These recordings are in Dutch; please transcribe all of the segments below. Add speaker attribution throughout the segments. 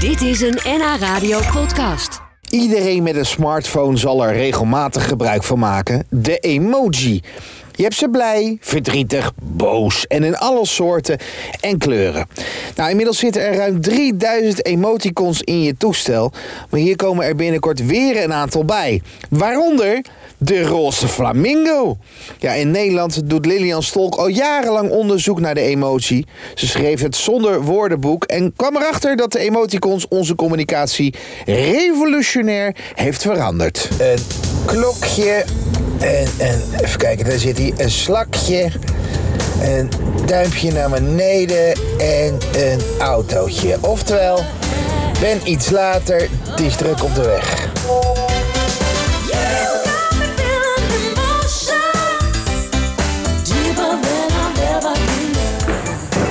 Speaker 1: Dit is een NH Radio podcast.
Speaker 2: Iedereen met een smartphone zal er regelmatig gebruik van maken. De emoji. Je hebt ze blij, verdrietig, boos en in alle soorten en kleuren. Nou, inmiddels zitten er ruim 3000 emoticons in je toestel. Maar hier komen er binnenkort weer een aantal bij. Waaronder de roze flamingo. Ja, in Nederland doet Lilian Stolk al jarenlang onderzoek naar de emotie. Ze schreef het zonder woordenboek en kwam erachter dat de emoticons onze communicatie revolutionair heeft veranderd. Een klokje, en, en even kijken, daar zit hij. Een slakje, een duimpje naar beneden en een autootje. Oftewel, ben iets later, het is druk op de weg.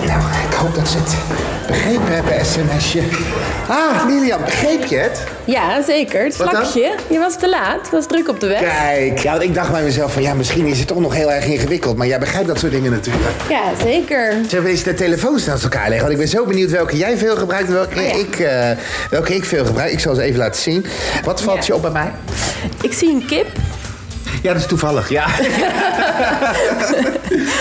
Speaker 2: Nou, ik hoop dat ze het begrepen hebben, sms'je. Ah, Lilian, begreep je het?
Speaker 3: Ja, zeker. Het
Speaker 2: Wat dan?
Speaker 3: vlakje. Je was te laat. Het was druk op de weg.
Speaker 2: Kijk, ja, want ik dacht bij mezelf van ja, misschien is het toch nog heel erg ingewikkeld. Maar jij begrijpt dat soort dingen natuurlijk.
Speaker 3: Ja, zeker.
Speaker 2: Zullen we eens de telefoons naast elkaar leggen? Want ik ben zo benieuwd welke jij veel gebruikt en welke, ik, eh, welke ik veel gebruik. Ik zal ze even laten zien. Wat valt
Speaker 3: Ja.
Speaker 2: je op bij mij?
Speaker 3: Ik zie een kip.
Speaker 2: Ja, dat is toevallig, ja.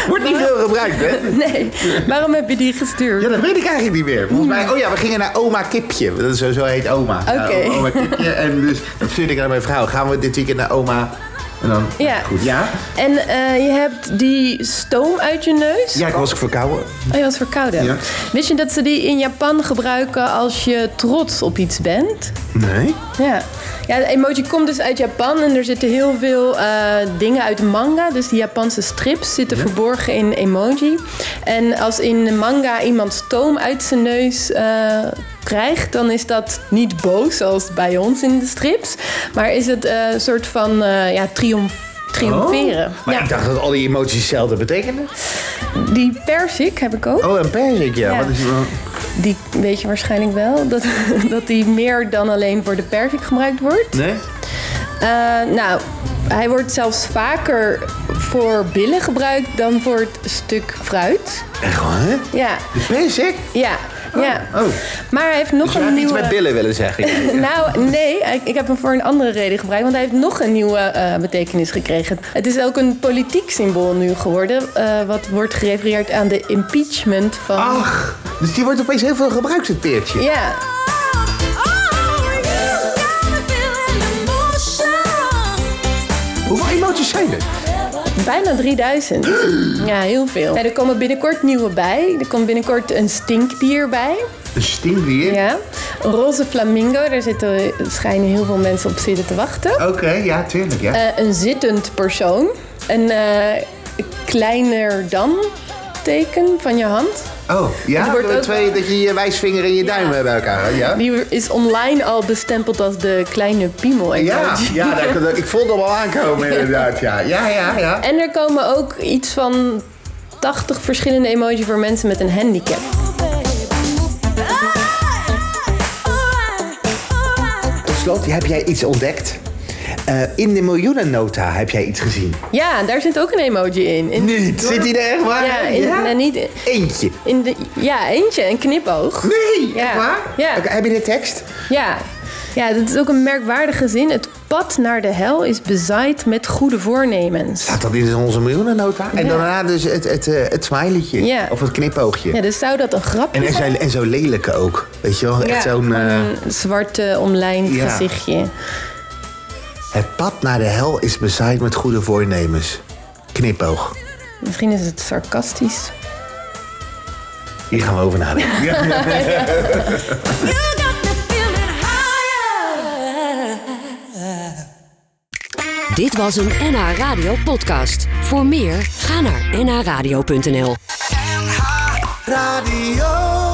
Speaker 2: Wordt niet veel gebruikt, hè?
Speaker 3: Nee, waarom heb je die gestuurd?
Speaker 2: Ja, dat weet ik eigenlijk niet meer. Volgens mij, oh ja, we gingen naar Oma Kipje. Dat is, zo- zo heet Oma.
Speaker 3: Hmm. Oké.
Speaker 2: Nou, oma, Oma Kipje. En dus dan stuurde ik naar mijn vrouw. Gaan we dit weekend naar Oma? En dan,
Speaker 3: Ja.
Speaker 2: goed. Ja?
Speaker 3: En eh, je hebt die stoom uit je neus.
Speaker 2: Ja, ik was verkouden.
Speaker 3: Oh, je was verkouden.
Speaker 2: Ja.
Speaker 3: Wist je dat ze die in Japan gebruiken als je trots op iets bent?
Speaker 2: Nee.
Speaker 3: Ja. Ja, de emoji komt dus uit Japan en er zitten heel veel eh, dingen uit de manga. Dus die Japanse strips zitten verborgen in emoji. En als in de manga iemand stoom uit zijn neus eh, krijgt, dan is dat niet boos zoals bij ons in de strips. Maar is het eh, een soort van eh, ja, triomf. Triomferen.
Speaker 2: Oh. Maar
Speaker 3: ja,
Speaker 2: ik dacht dat al die emoties hetzelfde betekenden.
Speaker 3: die persik heb ik ook.
Speaker 2: Oh, een perzik, ja.
Speaker 3: Ja.
Speaker 2: Wat is
Speaker 3: Die weet je waarschijnlijk wel. Dat, dat die meer dan alleen voor de persik gebruikt wordt.
Speaker 2: Nee?
Speaker 3: Eh, nou, hij wordt zelfs vaker voor billen gebruikt dan voor het stuk fruit.
Speaker 2: Echt waar, hè?
Speaker 3: Ja,
Speaker 2: De perzik?
Speaker 3: ja, ja.
Speaker 2: Oh.
Speaker 3: Maar hij heeft nog
Speaker 2: Dus je
Speaker 3: een
Speaker 2: had
Speaker 3: nieuwe...
Speaker 2: iets met billen willen zeggen.
Speaker 3: Nou, nee, ik, ik heb hem voor een andere reden gebruikt, want hij heeft nog een nieuwe eh, betekenis gekregen. Het is ook een politiek symbool nu geworden, eh, wat wordt gerefereerd aan de impeachment van...
Speaker 2: Ach, dus die wordt opeens heel veel gebruikt, het peertje.
Speaker 3: Ja,
Speaker 2: Hoeveel emoties zijn er?
Speaker 3: Bijna 3000. Ja, heel veel. Ja, er komen binnenkort nieuwe bij. Er komt binnenkort een stinkdier bij.
Speaker 2: Een stinkdier.
Speaker 3: Ja. Een roze flamingo. Daar zitten, schijnen heel veel mensen op zitten te wachten.
Speaker 2: Oké, ja, tuurlijk, ja.
Speaker 3: Eh, een zittend persoon. Een eh, kleiner dan teken van je hand.
Speaker 2: oh, ja?
Speaker 3: het wordt
Speaker 2: door
Speaker 3: ook-
Speaker 2: Twee, dat je je wijsvinger en je duim eh, bij elkaar houdt, ja?
Speaker 3: Die is online al bestempeld als de kleine piemel.
Speaker 2: Ja, ja dat, dat- ik voelde hem al aankomen inderdaad, ja. Ja, ja, ja.
Speaker 3: En er komen ook iets van 80 verschillende emoji voor mensen met een handicap.
Speaker 2: Tot slot, heb jij iets ontdekt? Eh, in de miljoenennota heb jij iets gezien.
Speaker 3: Ja, daar zit ook een emoji in. in
Speaker 2: Niet? Ah, Zit hij er echt waar?
Speaker 3: Ja, in, nee, niet in,
Speaker 2: Eentje.
Speaker 3: in de, ja, eentje, een knipoog.
Speaker 2: Nee,
Speaker 3: Ja.
Speaker 2: echt waar?
Speaker 3: Ja.
Speaker 2: Oké, heb je de tekst?
Speaker 3: Ja. ja, dat is ook een merkwaardige zin. Het pad naar de hel is bezaaid met goede voornemens.
Speaker 2: Dat is onze miljoenennota. En
Speaker 3: Ja.
Speaker 2: daarna dus het, het, eh, het smileytje.
Speaker 3: Ja.
Speaker 2: Of het knipoogje.
Speaker 3: Ja, dus zou dat een grapje
Speaker 2: En, er zijn, en zo lelijke ook. Weet je wel? Echt
Speaker 3: Ja,
Speaker 2: zo'n... eh,
Speaker 3: Een zwarte omlijnd
Speaker 2: Ja.
Speaker 3: gezichtje.
Speaker 2: het pad naar de hel is bezaaid met goede voornemens. Knipoog.
Speaker 3: Misschien is het sarcastisch.
Speaker 2: Hier gaan we over nadenken.
Speaker 1: Dit was een NH Radio podcast. Voor meer, ga naar nhradio.nl.
Speaker 4: Radio.